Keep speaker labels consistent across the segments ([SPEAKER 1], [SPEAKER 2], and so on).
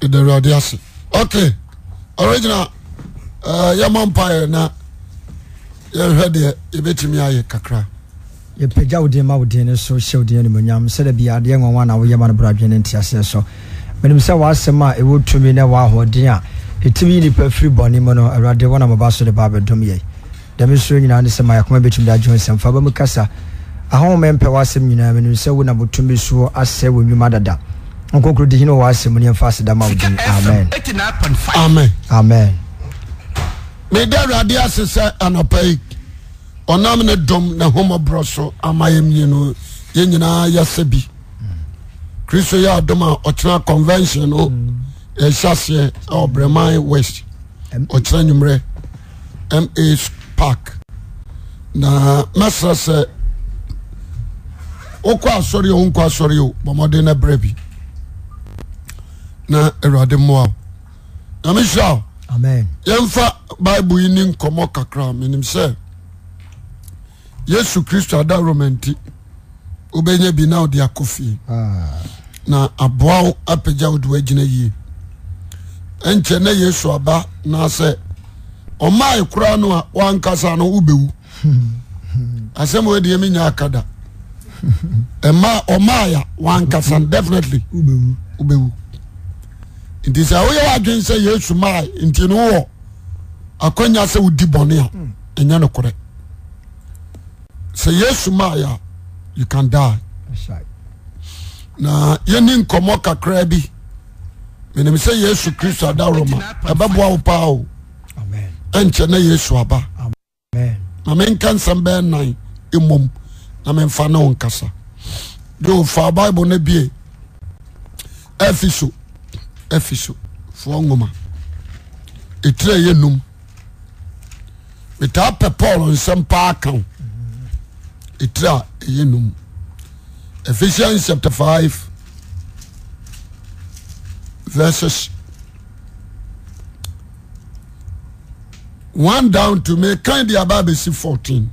[SPEAKER 1] ɛdawurade ase ok original Ee, yɛma mpaɛ na yɛhwɛ deɛ yɛbɛtumi ayɛ kakra
[SPEAKER 2] yɛpagya wo din ma wo din no so hyɛ wo din animuonyam sɛda bia adeɛ nwanwa na woyɛ ma no borɔadwene ne nteaseɛ so menim sɛ w'asɛm a ɛwɔ tumi ne wɔahɔden a ɛtumi yi nnipa firi bɔne mu no awurade wonamaba so de ba abɛdom yɛi dɛme so nyinaa ne sɛ ma yɛkoma bɛtumi de agye wo nsɛm fa ba mu kasa ahoma mpɛ w'asɛm nyinaa menim sɛ wo na botumi so asɛ wɔ nnwuma dada nkokoro di hene wɔ w'asɛm mu ne yɛmfa aseda ma wo din amen
[SPEAKER 1] amen
[SPEAKER 2] amen
[SPEAKER 1] meda awurade ase sɛ anɔpa yi ɔnam ne dom ne homɔborɔ so ama yɛmmie no yɛn nyinaa yɛsɛ bi kristo yɛ adom a ɔkyena convention o yɛhyɛ aseɛ a ɔbrɛman west
[SPEAKER 2] M-
[SPEAKER 1] ɔkyena nwummerɛ ma park na mɛsrɛ sɛ wokɔ asɔre o wonkɔ asɔre o bɔ mmɔden no brɛ bi na awurade mmoa o na mehyira o
[SPEAKER 2] amen
[SPEAKER 1] yɛmfa bible yi ne nkɔmmɔ kakra menim sɛ yesu kristo ada roma nti wobɛnya bi na wode akɔ fie
[SPEAKER 2] Ah,
[SPEAKER 1] na aboa wo apagya wode woagyina yie ɛnkyɛ na yesu aba naasɛ ɔmae koraa no a woankasa no wobɛwu asɛm wedeɛ menya aka da ɛma ɔmae a woankasa no definitely
[SPEAKER 2] wobɛwu
[SPEAKER 1] wobɛwu nti sɛ woyɛ w'adwene sɛ yesu maa nti no wowɔ akwanya sɛ wodi bɔne a ɛnyɛ no korɛ sɛ yesu maae a you can die
[SPEAKER 2] Asai.
[SPEAKER 1] na yɛni nkɔmmɔ kakraa bi menim sɛ yesu kristo ada roma ɛbɛboa wo paa o
[SPEAKER 2] amen
[SPEAKER 1] ɛnkyɛ na yesu aba
[SPEAKER 2] amen
[SPEAKER 1] na menka nsɛm bɛyɛ nan mmom na memfa ne wo nkasa yo fa bible no bie afi so afi so foɔ nwoma ɛtire yɛ num metaa pɛ paul nsɛm paa ka wo ɛtire a ɛyɛ num ephesians chapter 5 verses 1 down to me kan de aba abɛsi 14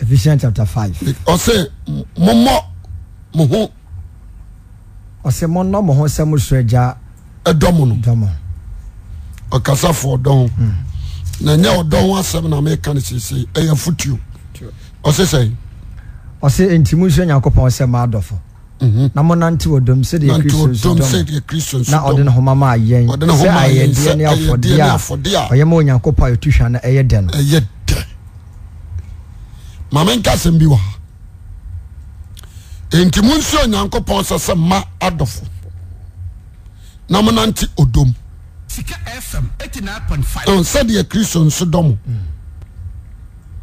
[SPEAKER 2] ephesians chapter 5
[SPEAKER 1] ɔse mommɔ mo ho
[SPEAKER 2] ɔsɛ monnɔ mo ho sɛ mosoro agya
[SPEAKER 1] ɛdɔ mo no
[SPEAKER 2] dɔ mo
[SPEAKER 1] ɔkasafo ɔdɔ ho
[SPEAKER 2] Hmm.
[SPEAKER 1] na ɛnyɛ ɔdɔ ho asɛm na meka no seesei ɛyɛ fotuo ɔse sɛ
[SPEAKER 2] ɔsɛ enti monsuo nyankopɔn sɛ maadɔfo
[SPEAKER 1] Mhm.
[SPEAKER 2] na monante wɔ dom sɛdeɛ
[SPEAKER 1] nante
[SPEAKER 2] kristo nso
[SPEAKER 1] ɔdom
[SPEAKER 2] dɔ mo
[SPEAKER 1] sɛdeɛ kristo
[SPEAKER 2] na ɔde ne
[SPEAKER 1] nsodɔ
[SPEAKER 2] homa maa yɛn
[SPEAKER 1] Ɔde ne
[SPEAKER 2] sɛ
[SPEAKER 1] homa maa yɛn
[SPEAKER 2] ayɛdeɛ
[SPEAKER 1] sɛ
[SPEAKER 2] ne
[SPEAKER 1] ayɛdeɛ ne afɔdeɛ
[SPEAKER 2] afɔdeɛ
[SPEAKER 1] a
[SPEAKER 2] a ɔyɛ ma onyankopɔn a ɛtu hwa no ɛyɛ dɛ no
[SPEAKER 1] ɛyɛ dɛ ma menka asɛm bi wɔ ha enti monsuo onyankopɔn sɛ sɛ ma adɔfo na monante ɔdom
[SPEAKER 3] Sika FM 89.5.
[SPEAKER 1] Ɛn, sɛdeɛ kristo nso dɔ mo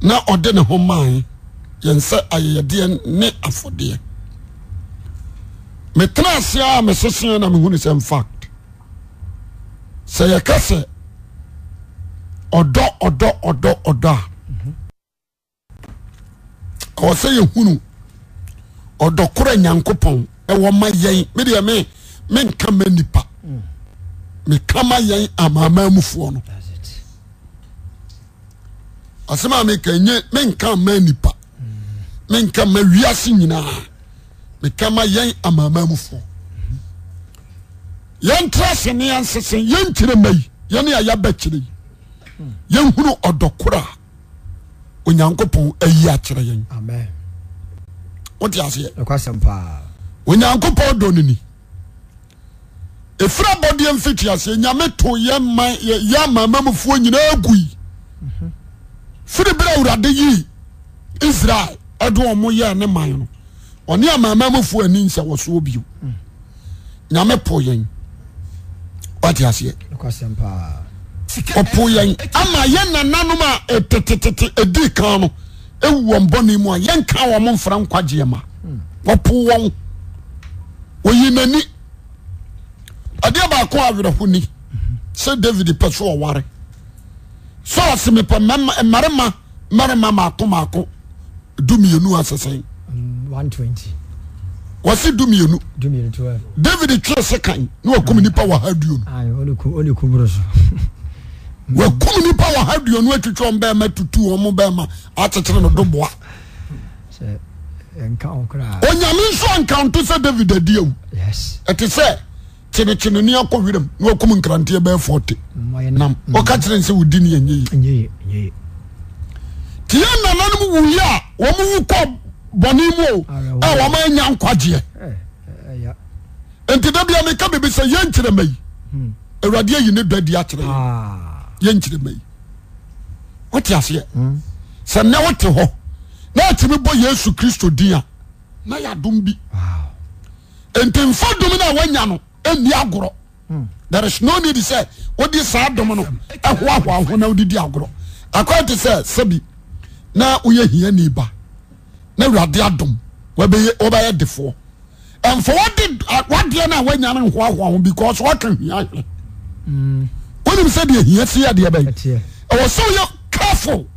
[SPEAKER 1] na ɔde ne ho mae yɛn sɛ ayɛyɛdeɛ ne afɔdeɛ metena ase a meseseɛ na mehunu sɛ mfact sɛ yɛka sɛ ɔdɔ ɔdɔ ɔdɔ ɔdɔ a ɛwɔ sɛ yɛhunu ɔdɔ korɔ nyankopɔn ɛwɔ ma yɛn medeɛ me menka ma nnipa meka ma yɛn amaamaamufoɔ no asɛm a meka nye menka ma nipa menka ma wiase nyinaa meka ma yɛn amaamamufoɔ yɛntra se ne yɛnsese yɛnkyerɛ ma yi yɛne a yɛbɛkyerɛ yi yɛnhunu ɔdɔkoro a onyankopɔn ayi akyerɛ yɛn
[SPEAKER 2] amen
[SPEAKER 1] wote aseɛ
[SPEAKER 2] nokwasɛm paa
[SPEAKER 1] onyankopɔn dɔ no ni ɛfiri abɔdeɛ mfitiaseɛ nyame to yɛ amamamufoɔ nyinaa gui firi berɛ awurade yii israel ɛde ɔ mo yɛɛ ne man no ɔne amamamufoɔ ani nsɛ wɔ soɔ bio nyame po yɛn wate aseɛ
[SPEAKER 2] nokwasɛm paa
[SPEAKER 3] Sika
[SPEAKER 1] ɔpo
[SPEAKER 3] FM
[SPEAKER 1] yɛn ama yɛn nananom a ɛtetetete ɛdii kan no ɛwu wɔn bɔne mu a yɛnka wɔn mo mfra nkwagyeɛ ma wɔpo wɔn wɔyi n'ani adeɛ baako awerɛho ni sɛ david pɛ so ɔware sɔɔse mepɛ mmarima mmarima mmarima maako maako dumienu asesɛn
[SPEAKER 2] Mm, 120
[SPEAKER 1] wɔse dumienu
[SPEAKER 2] dumienu 12
[SPEAKER 1] david twere se kan na wakum nipa wɔ ha duonu
[SPEAKER 2] Ai, ɔne ku- ɔne kumuro so
[SPEAKER 1] wakum nipa wɔ ha duonu atwitwa wɔn bɛɛma tutu wɔn mo bɛɛma akyekyere no do boa
[SPEAKER 2] sɛ ɛnka ho koraa
[SPEAKER 1] onyame nso ankanto sɛ david adi awu
[SPEAKER 2] yes
[SPEAKER 1] ɛte sɛ kyenekyene ni akɔ werɛm na wakum nkranteɛ bɛyɛ 40
[SPEAKER 2] Mmoa yɛ
[SPEAKER 1] nam ɔka kyerɛ n sɛ wodi ne yɛnyɛ yi
[SPEAKER 2] Mm, Nye, nye.
[SPEAKER 1] nti yɛ nananom wuyi a wɔm wu kɔ bɔne mu o a wɔma anya nkwagyeɛ
[SPEAKER 2] Eh, eh, ya.
[SPEAKER 1] enti da bia meka bibi sɛ yɛnkyerɛma yi
[SPEAKER 2] Hmm.
[SPEAKER 1] awurade ayi ne dɔ adi akyerɛ yɛn.
[SPEAKER 2] Ah.
[SPEAKER 1] yɛnkyerɛma yi wote aseɛ sɛ nnɛ wote hɔ na atumi bɔ yesu kristo din a na yɛadom bi
[SPEAKER 2] Wow.
[SPEAKER 1] enti mfa dom no a woanya no ɛnni agorɔ there is no need sɛ wode saa dom no ɛhoahoa ho na wodedi agorɔ akɔɛ te sɛ sɛbi na woyɛ hiani ba na awurade adom wobɛyɛ wobɛyɛ defoɔ ɛmfa wode wadeɛ no a woanya no nhoahoa ho because woaka hia hwɛ
[SPEAKER 2] Mm.
[SPEAKER 1] wonim sɛ deɛ hia si adeɛ bɛyɛ
[SPEAKER 2] Ɛteɛ.
[SPEAKER 1] ɛwɔ sɛ woyɛ careful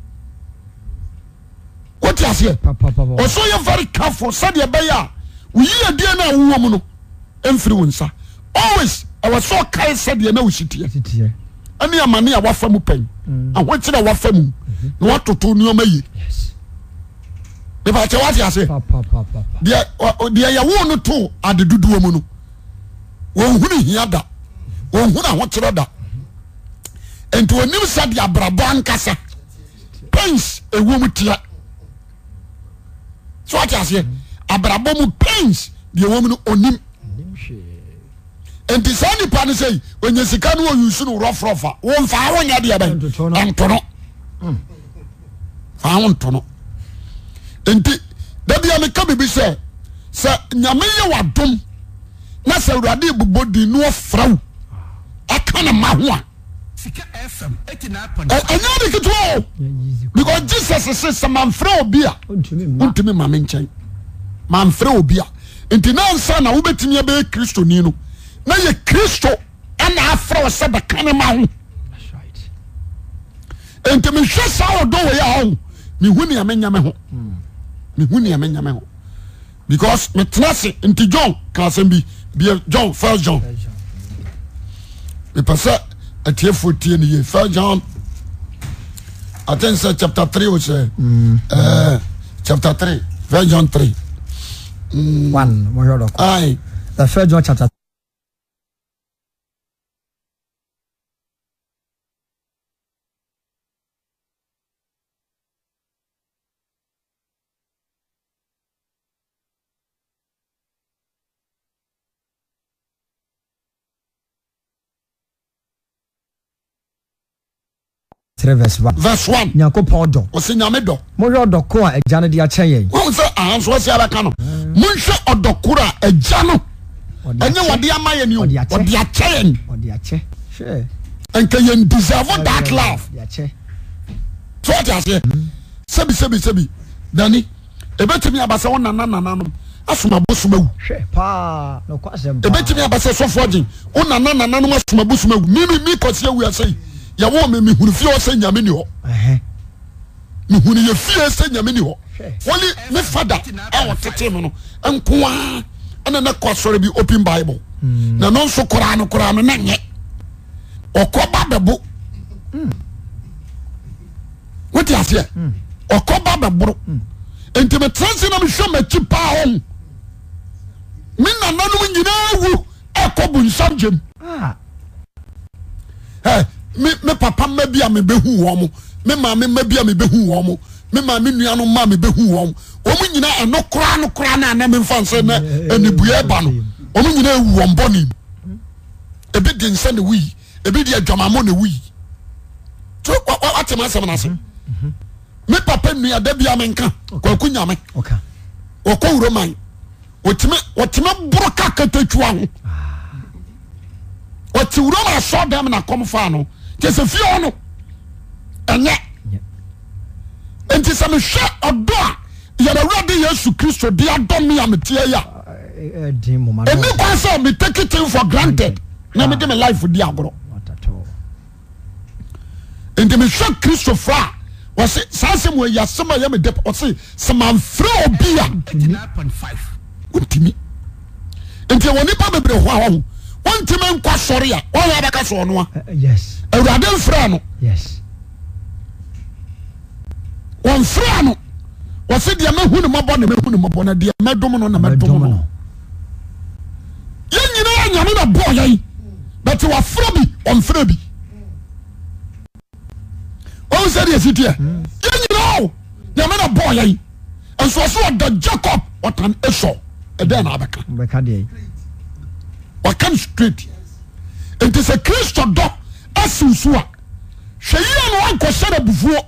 [SPEAKER 1] wote aseɛ
[SPEAKER 2] Pa, pa, pa, pa.
[SPEAKER 1] ɛwɔ sɛ woyɛ very careful sɛdeɛ ɛbɛyɛ a woyi adie no a wowɔ mu no ɛmfiri wo nsa always ɛwɔ sɛ ɔkae sɛdeɛ na wohyiteɛ
[SPEAKER 2] Ɛteteɛ.
[SPEAKER 1] ɛne amane a wafa mu pɛn ahokyerɛ a wafa mu na watoto nneɔma yi
[SPEAKER 2] Yes.
[SPEAKER 1] mepakyɛ woate aseɛ
[SPEAKER 2] Pa, pa, pa, pa, pa.
[SPEAKER 1] deɛ ɔ- ɔ- deɛ yɛwo no to ade dodoɔ mu no wɔnhunu hia da wɔnhunu ahokyerɛ da nti wɔnim sɛ de abrabɔ ankasa pens ɛwɔ mu teɛ so wate aseɛ abrabɔ mu pens deɛ ɛwɔ mu no ɔnim
[SPEAKER 2] Nim hwee.
[SPEAKER 1] nti saa nipa no sɛi ɔnya sika no wɔyusu no worɔforɔfa womfaa wonyɛ deɛ
[SPEAKER 2] Ɛntoto no.
[SPEAKER 1] bɛn ɛntono faa wo ntono nti da bia meka bibi sɛ sɛ nyame yɛ wadom na sɛ awurade bobɔ din no ɔfra wo aka ne ma ho a
[SPEAKER 3] Sika FM 89.5.
[SPEAKER 1] ɛ- ɛnyɛ de ketewa o
[SPEAKER 2] Ɛnyɛ easy.
[SPEAKER 1] because jesus se sɛ mamfrɛ obi a
[SPEAKER 2] Ɔntumi mma.
[SPEAKER 1] wontumi ma me nkyɛn mamfrɛ obi a nti nansa na wobɛtumi abɛyɛ kristoni no na yɛ kristo ana afrɛ wo sɛ bɛka ne ma ho
[SPEAKER 2] That's right.
[SPEAKER 1] nti mehwɛ saa ɔdɔ wei a ho mehu nea menyɛ me ho mehu nea menyɛ me ho because metena se nti john ka asɛm bi bia john first john
[SPEAKER 2] That's right.
[SPEAKER 1] mepɛ sɛ atiefoɔ tie no ye first john I think sɛ chapter 3 wo sɛ eh, chapter 3 first john 3
[SPEAKER 2] One. Mɔhwɛ ɔdɔkɔ.
[SPEAKER 1] ae
[SPEAKER 2] The first John chapter three verse one.
[SPEAKER 1] verse 1
[SPEAKER 2] nyankopɔn dɔ
[SPEAKER 1] ɔsɛ nyame dɔ
[SPEAKER 2] mohwɛ ɔdɔko a agya no de akyɛ yɛn
[SPEAKER 1] wọn sɛ ahansuo si abɛka no monhwɛ ɔdɔkoro a ɛgya no
[SPEAKER 2] Ɔde
[SPEAKER 1] ɛnyɛ
[SPEAKER 2] akyɛ-
[SPEAKER 1] wɔde ama yɛn ni o
[SPEAKER 2] Ɔde akyɛ.
[SPEAKER 1] wɔde akyɛ yɛn
[SPEAKER 2] ɔde akyɛ Hwɛ.
[SPEAKER 1] nka yɛn deserve that love
[SPEAKER 2] Ɔde akyɛ
[SPEAKER 1] so wɔte
[SPEAKER 2] Mm-hmm.
[SPEAKER 1] aseɛ sɛbi sɛbi sɛbi dani ebetumi abasa wɔn nana nana no asomabo somawu
[SPEAKER 2] hwɛ paa na ɔkɔ asɛm paa.
[SPEAKER 1] ebetumi abasa sɔfoɔ gyin wɔn nana nana no asomabo somawu mimi mi kɔsi ewu ɛsɛ yi yɛwɔ mi mi huni fie hɔ sɛ nyame ni hɔ
[SPEAKER 2] Ɛhɛ.
[SPEAKER 1] mi huni yɛ fie sɛ nyame ni hɔ
[SPEAKER 2] Hwɛ.
[SPEAKER 1] wɔli ne fada a wɔtete mu no nkoa ɛna ne kɔ asɔre bi open bible na no nso koraa no koraa no na nyɛ ɔkɔ ba bɛbo wote aseɛ ɔkɔ ba bɛboro enti metena se na mehwɛ m'akyi paa hɔ me nananom nyinaa wu ɛkɔ bunsam gyam
[SPEAKER 2] Ah,
[SPEAKER 1] Ɛ, me me papa mma bi a mebɛhu wɔ mo me maame mma bi a mebɛhu wɔ mo me maame nua no mma a mebɛhu wɔ mo wɔn nyinaa ɛno koraa no koraa no a na memfa nsɛ na anibuɛ ba no wɔn nyinaa awu wɔn bɔne mu ebi di nsa na wuyi ebi di adwamamɔ na wuyi so wate ma asɛm no ase me papa nua da bi a menka kwaku nyame
[SPEAKER 2] ɔka
[SPEAKER 1] wɔkɔ wuro man wɔtumi wɔtumi boro ka katakyiwa ho wɔte wuro ma asɔ dɛm na kɔm faa no kyɛ sɛ fie hɔ no ɛnyɛ
[SPEAKER 2] Nyɛ.
[SPEAKER 1] enti sɛ mehwɛ ɔdɔ a yɛrɛwurade yesu kristo de adɔ me a meteɛ yi a
[SPEAKER 2] Ɛ- ɛ- ɛden moma no
[SPEAKER 1] ɛni kwan sɛ metakitin for granted na mede me life di agorɔ
[SPEAKER 2] ɔtatɔ
[SPEAKER 1] nti mehwɛ kristofo a wɔse saa sɛm wɔyi asɛm a ɛyɛ me dɛ ɔse sɛ mamfrɛ obi a
[SPEAKER 3] 89.5.
[SPEAKER 1] wontimi nti wɔ nipa bebree ho a wɔho wontimi nkɔ sɔre a wɔyɛ abɛka sɛ ɔno a
[SPEAKER 2] Ɛ- ɛ- Eh, yes
[SPEAKER 1] awurade mfrɛ no
[SPEAKER 2] yes
[SPEAKER 1] wɔmfrɛ no wɔse deɛ mahu ne mɔbɔ ne mahu ne mɔbɔ na deɛ mɛdom no na mɛdom
[SPEAKER 2] Mɛdom
[SPEAKER 1] no
[SPEAKER 2] no.
[SPEAKER 1] yɛn nyinaa yɛ nyame na bɔɔ yɛn bɛte wafrɛ bi ɔmfrɛ bi ɔhu sɛ deɛ siteɛ yɛ nyinaa o nyame na bɔɔ yɛn ɛnso ɔso ɔda jacob ɔtan esau ɛdɛn na abɛka
[SPEAKER 2] wobɛka deɛ
[SPEAKER 1] wɔka no straight nti sɛ kristo dɔ asiw so a hwɛ yie no wankɔhyɛ no abufuo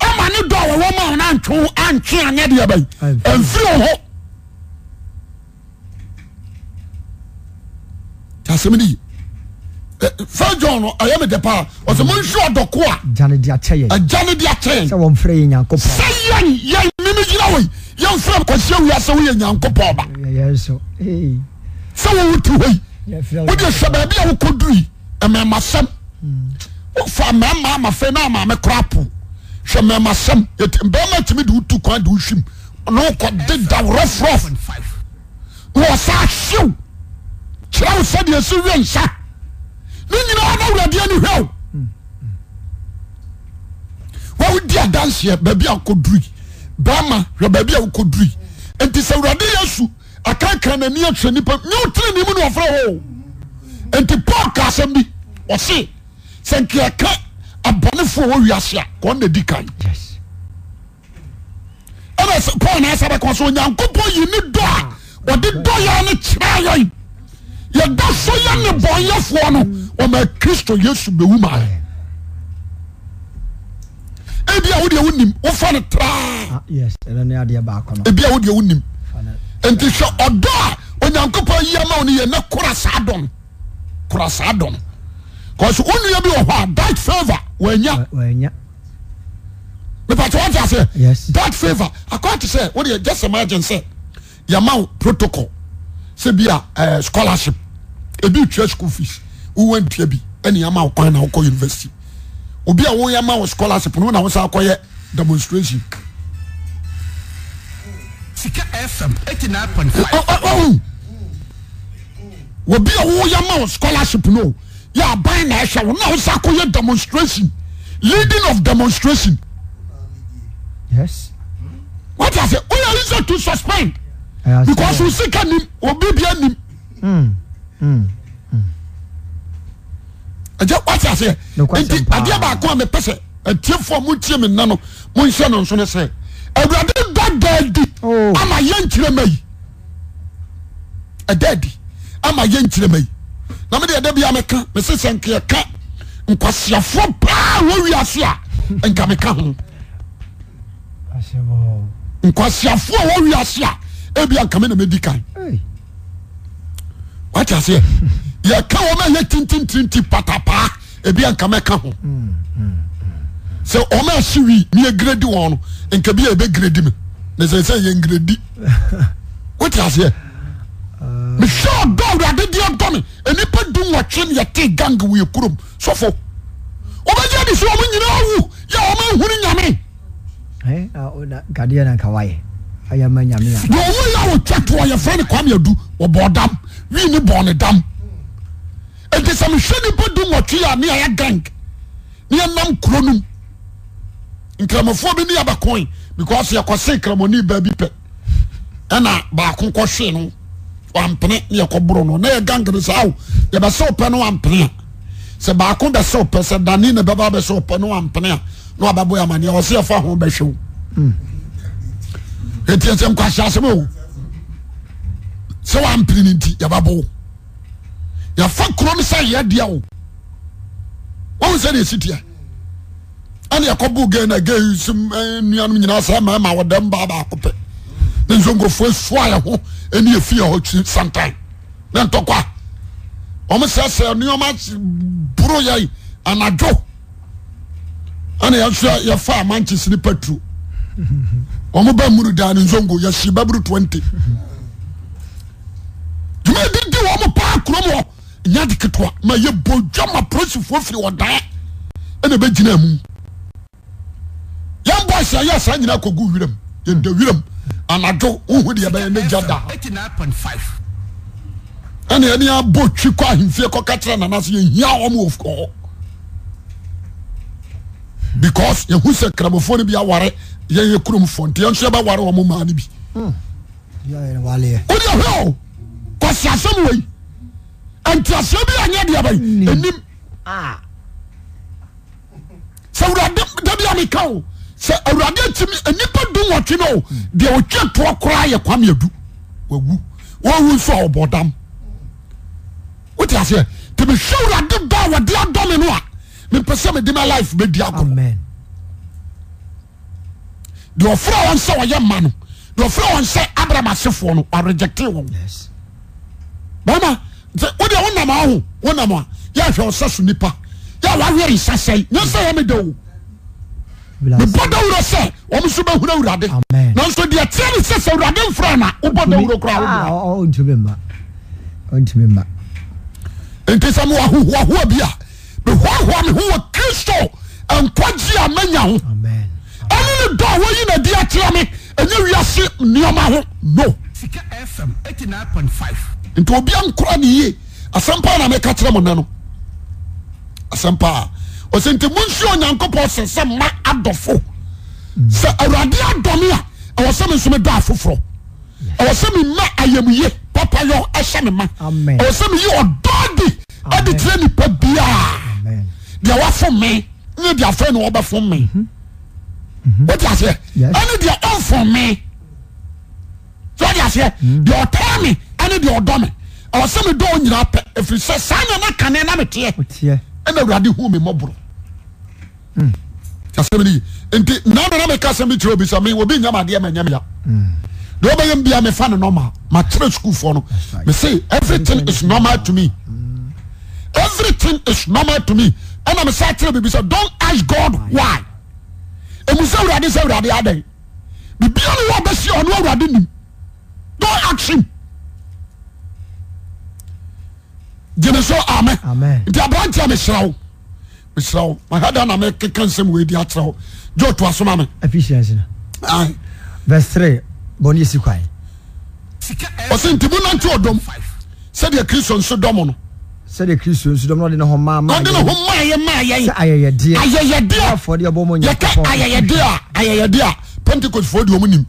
[SPEAKER 1] ama ne dɔ a wɔwɔ ma wo no antwe wo- antwe anyɛ deɛ bɛyi
[SPEAKER 2] Amfi.
[SPEAKER 1] ɛmfiri wo ho nti asɛm no yi fa john no ɛyɛ me dɛ paa ɔsɛ monhwɛ ɔdɔko a
[SPEAKER 2] gyane de akyɛ yɛ
[SPEAKER 1] agya ne de akyerɛ
[SPEAKER 2] sɛ
[SPEAKER 1] yɛn
[SPEAKER 2] wɔmfrɛ yɛ nyankopɔn
[SPEAKER 1] sɛ yɛn yɛn meme gyina wei yɛmfrɛ m kɔhyɛ wiasɛ woyɛ nyankopɔn ba
[SPEAKER 2] yɛyɛ Eh, so eh. ei,
[SPEAKER 1] sɛ wowo te hɔ yi
[SPEAKER 2] yɛfrɛ
[SPEAKER 1] wode hwɛ baabi a wokɔduri ɛmɛmasɛm wofa mmarima ama fɛ na amaame kora po hwɛ mɛmasɛm bɛrima tumi de wotu kwan de wohwim ne wokɔde da rɔfrɔf na ɔsa hyew kyerɛ wo sɛdeɛ si wɛ nsa ne nyinaa na wuradeɛ no hwɛw wawodi adanseɛ baabi a wokɔduri bɛrima hwɛ baabi a wokɔduri enti sɛ awurade yɛ su akrakra n'ani ahwɛ nnipa nyɛ wotene ne mu ne ɔfrɛ hoo nti paul ka asɛm bi ɔse sɛ nkeɛka abɔnefoɔ wɔ wiase a kɔn na di kan
[SPEAKER 2] yes
[SPEAKER 1] ɛna sɛ- paul naasa bɛka so onyankopɔn yi ne dɔ a ɔde dɔ yɛ no kyerɛ yɛn yɛda so yɛ ne bɔnyɛfoɔ no ɔma kristo yesu bɛwu ma ebia wodeɛ wonim wofa no traa
[SPEAKER 2] Ah, yes ɛno ne adeɛ baako no
[SPEAKER 1] ebia wodeɛ wonim
[SPEAKER 2] Fa no.
[SPEAKER 1] nti hwɛ ɔdɔ a onyankopɔn yi ama wo no yɛ ne kora saa dɔ no kora saa dɔ no kɔso wo nua bi wɔ hɔ a that favor wɔanya
[SPEAKER 2] Wa- waanya
[SPEAKER 1] mepatɛ wɔte
[SPEAKER 2] Yes.
[SPEAKER 1] aseɛ that favor akɔte sɛ wodeɛ just imagine sɛ yɛma wo protocol sɛ bi a eh, scholarship ebi tua school fees wowantua bi ɛne yɛma wo kwan na wokɔ university obi a woyɛma wo scholarship no wona wo sa akɔyɛ demonstration
[SPEAKER 3] Sika FM
[SPEAKER 1] Oh,
[SPEAKER 3] 89.5.
[SPEAKER 1] wobi a woyɛ ma wo scholarship no yɛ aban na ɛhwɛ wo na wo sa kɔyɛ demonstration leading of demonstration
[SPEAKER 2] yes
[SPEAKER 1] wate ase woyɛ easy to suspend
[SPEAKER 2] Ɛyɛ asɛm.
[SPEAKER 1] because wo sika nim obi bia Hmm. nim ɛgya wate aseɛ
[SPEAKER 2] Nokwasɛm
[SPEAKER 1] nti
[SPEAKER 2] paa.
[SPEAKER 1] adeɛ baako a mepɛ sɛ atiefoɔ motie me nna no monhyɛ no nso no sɛ awurade da daa di
[SPEAKER 2] Oh.
[SPEAKER 1] ama yɛnkyerɛ ma yi ɛda adi ama yɛnkyerɛ ma yi na mede ɛda bia meka mese sɛ nkeɛka nkwasiafoɔ paa wɔ wiase a nka meka ho
[SPEAKER 2] Asɛm o.
[SPEAKER 1] nkwasiafoɔ a wɔ wiase a ebia nka me na medi kan
[SPEAKER 2] Ei,
[SPEAKER 1] wate aseɛ yɛka wɔma yɛ tintintinti patapaa ebi anka mɛka ho sɛ ɔma ahye wi ne yɛgredi wɔn no nka bi a yɛbɛgredi me ne sɛ sɛ yɛngredi wote aseɛ mehwɛ ɔdɔ awurade deɛ dɔ me nnipa du nwɔtwe ne yɛte gang wɔ yɛ kurom sɔfo wɔbɛgye de sɛ ɔmo nyinaa wu yɛ ɔma nhunu nyame
[SPEAKER 2] ɛn, Eh, a wo na- kadeɛ e na nka wayɛ ayɛ ma nyame
[SPEAKER 1] deɛ ɔwo yɛ wo twɛtoɔ yɛfrɛ no kwame adu wɔbɔɔ dam wii ne bɔɔ ne dam ɛnti sɛ mehwɛ nipa du nwɔtwe a ne ayɛ gang ne yɛnam kuro no m nkramofoɔ bi ne yɛbɛkoe because yɛkɔse nkramɔne baabi pɛ ɛna baako kɔhwee no wampene ne yɛkɔboro no na yɛ gang no sɛ ao yɛbɛsɛ wo pɛ no wampene a sɛ baako bɛsɛ wo pɛ sɛ dane ne bɛba bɛsɛ wo pɛ no wampene a na wabɛbɔ yɛ amaneɛ ɔse yɛfa ho bɛhwɛ wo ɛtiɛ sɛ nkwahyɛ asɛm o sɛ wampene no nti yɛbɛbɔ wo yɛfa kurom sɛ yɛdeɛ wo wahu sɛ ne ɛsitiɛ ane yɛkɔbo ga na ga sm nnuanom nyinaa sɛ mama wɔdam baa baako pɛ ne nso nkurɔfoɔ soa yɛ ho e ɛne yɛfie hɔ kyi santan ne ntɔkwa ɔmo sɛsɛ nneɔma boro yɛ anadwo ane yɛso yɛfaa manchese ne patro ɔmo ba muru daa ne nsongo yɛsi baburu 20 dwuma di di wɔ mo paa kurom hɔ nya de ketewa ma yɛ bodwa ma polisifoɔ firi ɔdaa ɛna bɛgyina mu yɛn bɔs a yɛ saa nyinaa kɔgu wiram yɛda wiram anadwo wohu deɛ bɛyɛ ne gya da
[SPEAKER 3] 89.5.
[SPEAKER 1] ɛne ɛne abɔ twi kɔ ahemfie kɔka kyerɛ nana so yɛhia ɔm wɔ hɔ because yɛhu sɛ kramofoɔ no bi aware yɛyɛ kuromfoɔ nti yɛnso yɛbɛware wɔ mo maa no bi
[SPEAKER 2] yɛ yɛyɛ no waleɛ
[SPEAKER 1] wode hwɛ o kɔsi asɛm wei antiaseɛ bi anyɛ deɛ bɛyi
[SPEAKER 2] Nim.
[SPEAKER 1] anim sɛ awurade dabi a meka o sɛ awurade atimi nnipa du nwɔtwe no o deɛ ɔtwa toɔ koraa yɛ kwame adu wawu wɔwu nso a ɔbɔ dam wote aseɛ nti mehwɛ awurade ba a wɔde adɔ me no a mepɛ sɛ mede ma life bɛdi agorɔ
[SPEAKER 2] amen
[SPEAKER 1] deɛ ɔfrɛ wɔn sɛ ɔyɛ ma no deɛ ɔfrɛ wɔn sɛ abraham asefoɔ no ɔrejecte wɔn
[SPEAKER 2] yes
[SPEAKER 1] bɛma nti wode wonam a ho wonam a yɛhwɛ wo sɛ so nipa yɛ wawere nsa sɛe nyɛ sɛ yɛ meda o
[SPEAKER 2] bless
[SPEAKER 1] mebɔ dawuro sɛ ɔm so bɛhunu awurade
[SPEAKER 2] amen
[SPEAKER 1] nanso deɛ teɛ ne sɛ sɛ awurade mfra na wobɔ dawuro
[SPEAKER 2] Ah,
[SPEAKER 1] kora wo
[SPEAKER 2] ɔ- ɔ- ɔntumi mma ɔntumi mma
[SPEAKER 1] enti sɛ mewahohoahoa bi a mehoahoa me ho wɔ kristo nkwagye a manya ho
[SPEAKER 2] amen
[SPEAKER 1] ɛne ne dɔ a wɔyi nadi akyerɛ me ɛnyɛ wiase nneɔma ho no
[SPEAKER 3] Sika FM 89.5.
[SPEAKER 1] nti obia nkora ne yie asɛm paa na meka kyerɛ mo nɛ no asɛm paa ɔsɛ nti monsuo onyankopɔn sɛ sɛ ma adɔfo sɛ awurade adɔme a ɛwɔ sɛ me nso medɔ afoforɔ ɛwɔ sɛ mema ayamye papayɔ ɛhyɛ me ma
[SPEAKER 2] Amen.
[SPEAKER 1] ɛwɔ sɛ meyi ɔdɔ de ade
[SPEAKER 2] Amen.
[SPEAKER 1] kyerɛ nipa biaa
[SPEAKER 2] amen
[SPEAKER 1] deɛ wafo me ne deɛ afrɛ ne wɔbɛfo me wote aseɛ
[SPEAKER 2] Yes.
[SPEAKER 1] ɛne deɛ ɔmfo me so wote aseɛ deɛ ɔtaa me ɛne deɛ ɔdɔ me ɛwɔ sɛ medɔ wo nyinaa pɛ ɛfiri sɛ saa nyɛ na kane na meteɛ
[SPEAKER 2] woteɛ
[SPEAKER 1] ɛna awurade hu me mmɔborɔ asɛm no yi nti nadana meka sɛm bi kyerɛ obi sɛ me obi nyama adeɛ ma nyam ya deɛ wobɛyɛ mbia mefa ne normal makyerɛ sukuufoɔ no
[SPEAKER 2] right.
[SPEAKER 1] mese everything is normal to me everything is normal to me ɛna mesa kyerɛ biribi sɛ don't ask god why ɛmu sɛ awurade sɛ awurade adɛn biribia ne wɔ bɛsi ɔno awurade nim don't ask him gyene so amen
[SPEAKER 2] Amen.
[SPEAKER 1] nti aberanteɛ mehyerɛ wo mehyerɛ wo mahada na mekeka nsɛm weidi akyerɛ wo gye ɔtoa so ma me
[SPEAKER 2] ephesians no
[SPEAKER 1] Aye.
[SPEAKER 2] verse three bɔne esi kwan
[SPEAKER 3] Sika FM
[SPEAKER 1] ɔse nti mu nante ɔdɔm
[SPEAKER 3] 5.
[SPEAKER 1] sɛdeɛ kristo nso dɔ mo no
[SPEAKER 2] sɛdeɛ kristo nso dɔm na ɔde ne ho maa maa
[SPEAKER 1] ɔde ne ho maayɛ
[SPEAKER 2] sɛ
[SPEAKER 1] maayɛ
[SPEAKER 2] ayɛyɛdeɛ
[SPEAKER 1] ayɛyɛdeɛ
[SPEAKER 2] afɔdeɛ bɔ mɔ
[SPEAKER 1] yɛka ayɛyɛdeɛ a ayɛyɛdeɛ a pentecost foɔ deɛ ɔmu nim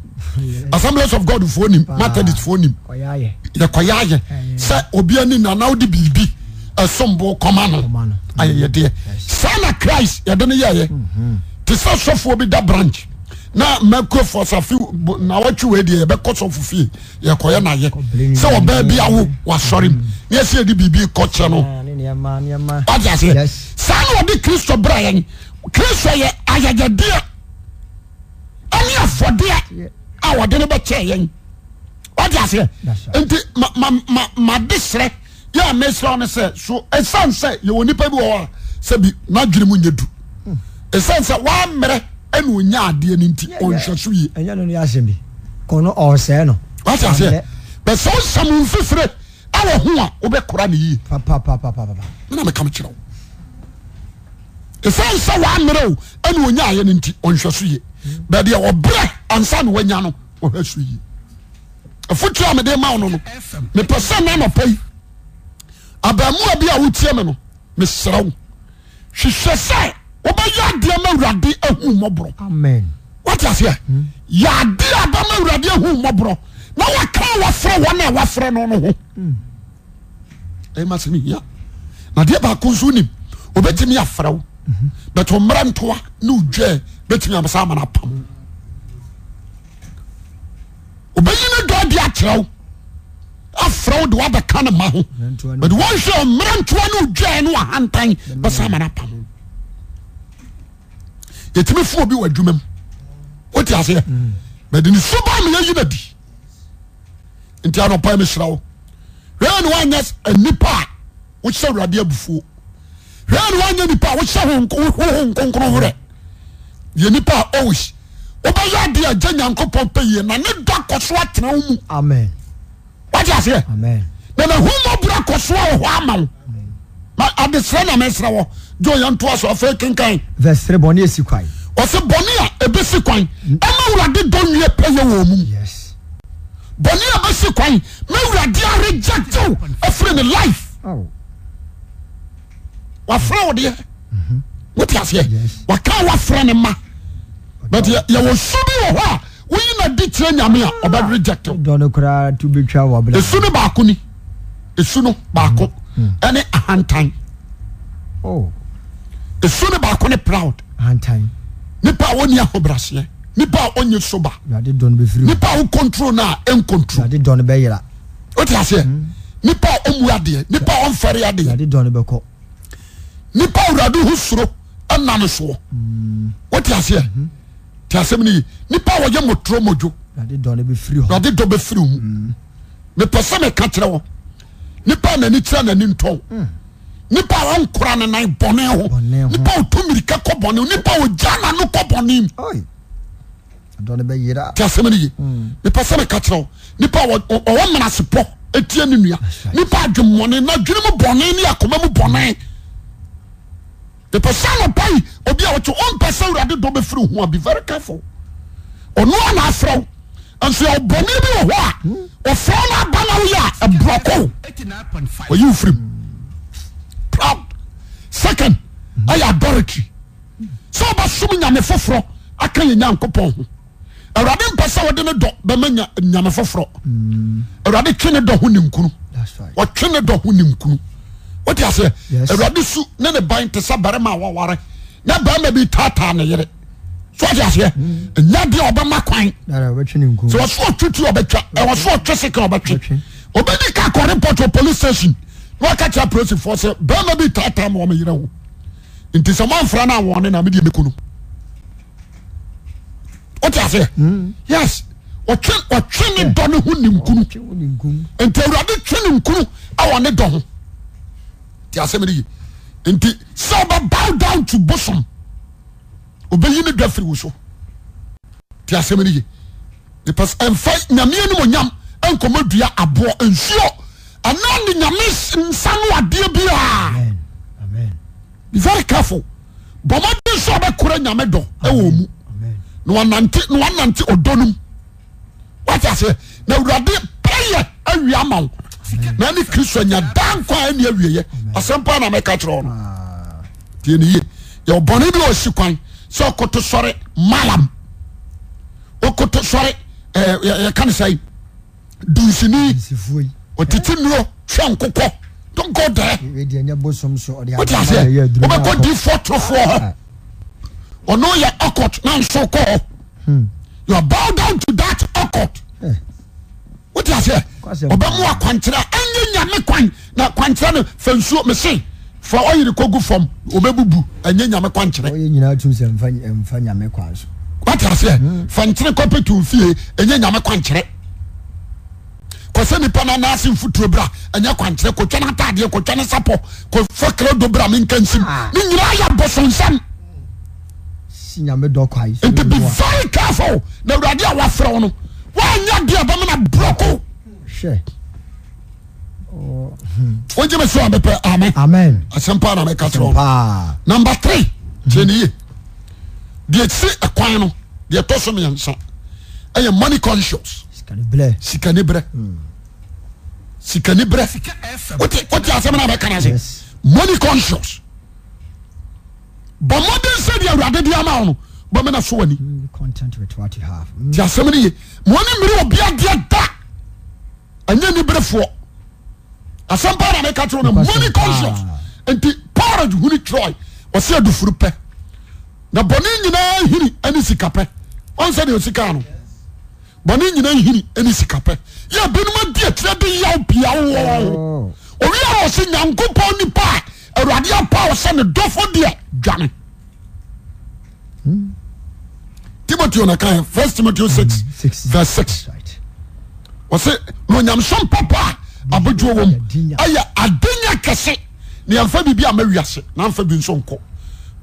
[SPEAKER 1] assemblies of god foɔ nim methodist foɔ nim
[SPEAKER 2] ɔyɛ ayɛ
[SPEAKER 1] yɛkɔyɛ ayɛ sɛ obia ni nana wode biribi ɛsombo kɔma
[SPEAKER 2] Kɔma
[SPEAKER 1] no
[SPEAKER 2] no. Mm.
[SPEAKER 1] ayɛyɛdeɛ saa na christ yɛde no yɛyɛ
[SPEAKER 2] Mm-hmm.
[SPEAKER 1] te sɛ sɔfoɔ bi da branch na makofoɔ safi nawɔtwe wei deɛ yɛbɛkɔ sɔfo fie yɛkɔyɛ noayɛ
[SPEAKER 2] Kɔbrɛ
[SPEAKER 1] sɛ
[SPEAKER 2] no
[SPEAKER 1] wɔbaa
[SPEAKER 2] nyinaa. Mm.
[SPEAKER 1] bi awo wasɔre mu ne yɛsɛ yɛde biribi kɔkyɛ no
[SPEAKER 2] Ah, ne nneɛma nneɛma
[SPEAKER 1] wagye aseɛ
[SPEAKER 2] Yes.
[SPEAKER 1] saa na wɔde kristo brɛ yɛn kristo yɛ ayɛyɛdeɛ ɛne afɔdeɛ a wɔde no bɛkyɛɛ yɛn wagye aseɛ
[SPEAKER 2] That's right.
[SPEAKER 1] nti ma- ma- ma- made serɛ yɛ a mesrɛ wo no sɛ so ɛsiane sɛ yɛwɔ nnipa bi wɔ hɔ a sɛ bi n'adwene mu nyɛ du ɛsiane sɛ woammerɛ ɛne ɔnya adeɛ no nti ɔnhwɛ so yie
[SPEAKER 2] ɛnyɛ no ne asɛm bi kɔno ɔresɛe no
[SPEAKER 1] wagye aseɛ
[SPEAKER 2] Amrɛ.
[SPEAKER 1] bɛ sɛ wosɛ mo mfifire awɔ ho a wobɛkora ne yie
[SPEAKER 2] papapapapapa
[SPEAKER 1] mena meka me kyerɛ wo ɛsiane sɛ woammerɛ o ɛne ɔnya ayɛ no nti ɔnhwɛ so ye bɛdeɛ ɔbrɛ ansa ne woanya no ɔhwɛ so ye afotuo a mede ma wo no no
[SPEAKER 3] FM
[SPEAKER 1] mepɛ sɛ na anɔpa yi abaamuwa bi a wotie me no meserɛ wo hwehwɛ sɛ wobɛyɛ adeɛ ma awurade ahu mmɔborɔ
[SPEAKER 2] amen
[SPEAKER 1] wate aseɛ yɛ ade a bama awurade ahu mmɔborɔ na waka a wafrɛ wɔn a wafrɛ no no ho ɛma sɛ mehia na deɛ baako nso nim obɛtumi afrɛ wo but wo mmara ntoa ne wodwaɛ bɛtumi amsa ama no apam obɛyi no dɔ de akyerɛ wo afrɛ wo de woabɛka ne ma ho
[SPEAKER 2] Mmara ntoa ne-
[SPEAKER 1] but wɔnhwɛ mmara ntoa ne wodwaɛ no wahantan bɛsa ama no apam wo yɛtumi fo obi wɔ adwuma mu wote aseɛ mɛde ne suba meyɛyi no adi nti anɔpa mehyira wo hwɛ ne woanyɛ nipa a wohyɛ awurade abufuo hwɛ ne woanyɛ nipa a wohyɛ ho nko- wo ho nkonkron werɛ yɛ nipa a always wobɛyɛ ade agya nyankopɔn pɛ yie na ne dɔ kɔ so atena wo mu
[SPEAKER 2] amen
[SPEAKER 1] wote aseɛ
[SPEAKER 2] amen
[SPEAKER 1] na nahumɔbura kɔ so a wɔ hɔ ama wo Ma- adesrɛ na mesrɛ wɔ gye ɔyɛntoa so afei kenkan
[SPEAKER 2] verse three bɔne esi kwan
[SPEAKER 1] ɔsɛ bɔne a ɛbɛsi kwan ɛma wurade dɔ nwie pɛyɛ wɔ mu
[SPEAKER 2] yes
[SPEAKER 1] bɔne a bɛsi kwan ma wurade aregyagyew afiri ne life
[SPEAKER 2] awo
[SPEAKER 1] wafrɛ wo deɛ wote
[SPEAKER 2] Yes.
[SPEAKER 1] aseɛ waka a wafrɛ ne ma but yɛ- yɛwɔ su bi wɔ hɔ a woyi na di kyerɛ nyame a ɔbɛregyagyew
[SPEAKER 2] dɔɔni koraa tu bi twa wɔ abila
[SPEAKER 1] ɛsu no baako ni ɛsu no baako ɛne ahantan
[SPEAKER 2] oh
[SPEAKER 1] ɛsu no baako ne proud
[SPEAKER 2] ahantan
[SPEAKER 1] nipa a wɔnni ahobraseɛ nipa a ɔnyɛ soba
[SPEAKER 2] awurade dɔ no bɛfiri hɔ
[SPEAKER 1] nipa a wokontrol no a ɛnkontrol
[SPEAKER 2] awurade dɔ no bɛyera
[SPEAKER 1] wote aseɛ nipa a ɔmu adeɛ nipa a ɔmfɛre adeɛ
[SPEAKER 2] awurade dɔ no bɛkɔ
[SPEAKER 1] nipa a awurade ho suro ɛna no soɔ wote aseɛ te asɛm no yi nipa a wɔyɛ motoro modwo
[SPEAKER 2] awurade dɔ no bɛfiri hɔ
[SPEAKER 1] awurade dɔ bɛfiri wo
[SPEAKER 2] Mm.
[SPEAKER 1] mu mepɛ sɛ meka kyerɛ wɔ nipa a n'ani kyerɛ n'ani ntɔn nipa a wankora ne nan bɔne ho
[SPEAKER 2] Mm. Bɔne ho.
[SPEAKER 1] nipa a otu mirika kɔ bɔne ho nipa a ogya n'ano kɔ bɔne mu
[SPEAKER 2] oi dɔ no bɛyera
[SPEAKER 1] te asɛm no ye nipa sɛ meka kyerɛ wo nipa a wɔ- ɔwɔ menasepɔ ɛtie ne nua
[SPEAKER 2] right.
[SPEAKER 1] nipa adwemmɔne na dwene mu bɔne ne akoma mu bɔne nipa sɛ nɔpai obi a wɔkye ɔmpɛ sɛ awurade dɔ bɛfiri wo ho a be very careful ɔno a naafrɛ wo ɛnso yɛwɔ bɔne bi wɔ hɔ a ɔfrɛ no aba na woyɛ a ɛborɔkɔ wo
[SPEAKER 3] ɛbrɔkɔ
[SPEAKER 1] ɔyi wo firim proud second ɛyɛ adority sɛ wobɛsom nyame foforɔ aka yɛ nyankopɔn ho awurade mpɛ sɛ wode ne dɔ bɛma nya- nyame foforɔ awurade twe ne dɔ ho ninkunu
[SPEAKER 2] that's right
[SPEAKER 1] wɔtwe ne dɔ ho ninkunu wote aseɛ
[SPEAKER 2] Yes.
[SPEAKER 1] awurade su ne ne ban te sɛ barima a waware na barima bi taataa ne yere so wote aseɛ ɛnya deɛ a ɔbɛma kwan
[SPEAKER 2] dara wobɛtwe ne nkum
[SPEAKER 1] sɛ wɔso ɔtwetwe ɔbɛtwa ɛwɔ so ɔtwe sika ɔbɛtwe
[SPEAKER 2] Ɔbɛtwe.
[SPEAKER 1] obɛdi ka kɔ report wɔ police station na waka kyerɛ polisifoɔ sɛ bɛrima bi taataa ma ɔmeyerɛ ho nti sɛ moamfra no awɔne na medeɛ mɛku no wote aseɛ yes ɔtwe ɔtwe ne dɔ ne ho nimkunu
[SPEAKER 2] Ɔtwe wo ne nkum
[SPEAKER 1] nti awurade twe ne nkunu awɔ ne dɔ ho nti asɛm no ye nti sɛ ɔbɛ bow down to bosom obɛyi ne dwa firi wo so nti asɛm no ye nipas ɛmfa nyame anim onyam ɛnkɔmɔ dua aboɔ nsuo anaa ne nyame s- nsa no adeɛ biaa
[SPEAKER 2] amen amen
[SPEAKER 1] be very careful bɔmɔden sɛ ɔbɛkora nyame dɔ ɛwɔ mu
[SPEAKER 2] amen
[SPEAKER 1] na wanante na wanante ɔdɔ no mu wate aseɛ na awurade pɛyɛ awie ama wo na ne kristo anya daa nkwa a ɛne awieyɛ asɛm pa na mɛka kyerɛ wo no tie ne ye yɛwɔ bɔne bi a ɔsi kwan sɛ ɔkoto sɔre malam ɔkoto sɔre ɛɛ, yɛ- yɛka ne sɛe dunsini
[SPEAKER 2] nsifuo yi
[SPEAKER 1] ɔtete nnuro hwɛ nkokɔ don't go there
[SPEAKER 2] wɛdi ɛnyɛ bosom so ɔde
[SPEAKER 1] wote
[SPEAKER 2] adamma na ɛyɛ
[SPEAKER 1] aseɛ
[SPEAKER 2] aduru na
[SPEAKER 1] wobɛkɔ
[SPEAKER 2] akɔ.
[SPEAKER 1] difoɔ torofoɔ hɔ ɔno yɛ ocult na nso kɔ hɔ you are bow down to that ocult
[SPEAKER 2] Eh.
[SPEAKER 1] wote aseɛ
[SPEAKER 2] Kwasem-
[SPEAKER 1] ɔbɛmu akwankyerɛ ɛnyɛ nyame kwan na kwankyerɛ no fa nsuo mese fa ɔyere kɔgu fam ɔbɛbubu ɛnyɛ nyame kwankyerɛ
[SPEAKER 2] ɔyɛ nyinaa tum sɛ mfa mfa nyame kwan so
[SPEAKER 1] wote aseɛ fa nkyere kɔpetu fie ɛnyɛ nyame kwankyerɛ kɔsɛ nipa no anaase mfotuo bra ɛnyɛ kwankyerɛ kɔtwa no atadeɛ kɔtwa no sapɔ kɔfa krado bra menka nsim ne nyinaa yɛ bɔsonsɛm
[SPEAKER 2] si nyame dɔ kwae sɛ
[SPEAKER 1] nti be
[SPEAKER 2] wo a,
[SPEAKER 1] very careful na awurade a wafrɛ wo no woanyɛ deɛ bɛmana borɔko
[SPEAKER 2] hwɛ
[SPEAKER 1] wogye me so a mepɛ ame
[SPEAKER 2] amen Ah,
[SPEAKER 1] asɛmpa na meka kyerɛ wo no
[SPEAKER 2] paa
[SPEAKER 1] number three tiɛ ne ye deɛ si ɛkwan no deɛ ɛtɔ so mmiɛnsa ɛyɛ money conscious
[SPEAKER 2] sikane blɛ
[SPEAKER 1] sikani berɛ sikani berɛ wote wote asɛm no a mɛka no
[SPEAKER 2] Yes.
[SPEAKER 1] ase money conscious bɔ mmɔden sɛ deɛ awurade de ama wo no bɔmena so w'ani
[SPEAKER 2] content with what you have
[SPEAKER 1] nti asɛm no ye ma ɔne mmere ɔbia deɛ da ɛnyɛ ni berefoɔ asɛm pa na meka kyerɛ no
[SPEAKER 2] Nokwasɛm
[SPEAKER 1] money conscious
[SPEAKER 2] paa.
[SPEAKER 1] nti paul hune troy ɔsɛ adufuru pɛ na bɔne nyinaa hini ne sika pɛ ɔn sɛ deɛ ɔsika no bɔne nyinaa hini ne sika pɛ yɛ binom adi akyirɛ de yaw pia wowɔwɔ
[SPEAKER 2] Oh.
[SPEAKER 1] owi a ɔse nyankopɔn nipa a awurade apa a ɔsɛ ne e. dɔfo deɛ dwane timoteo na kaɛ 1 timoteo 6
[SPEAKER 2] six
[SPEAKER 1] vers 6
[SPEAKER 2] right
[SPEAKER 1] ɔsɛ na onyamesom papa a abadwo wɔ mu
[SPEAKER 2] Adenya.
[SPEAKER 1] ayɛ adenya kɛse na yɛmfa biribi a mawiase na mfa bi nso nkɔ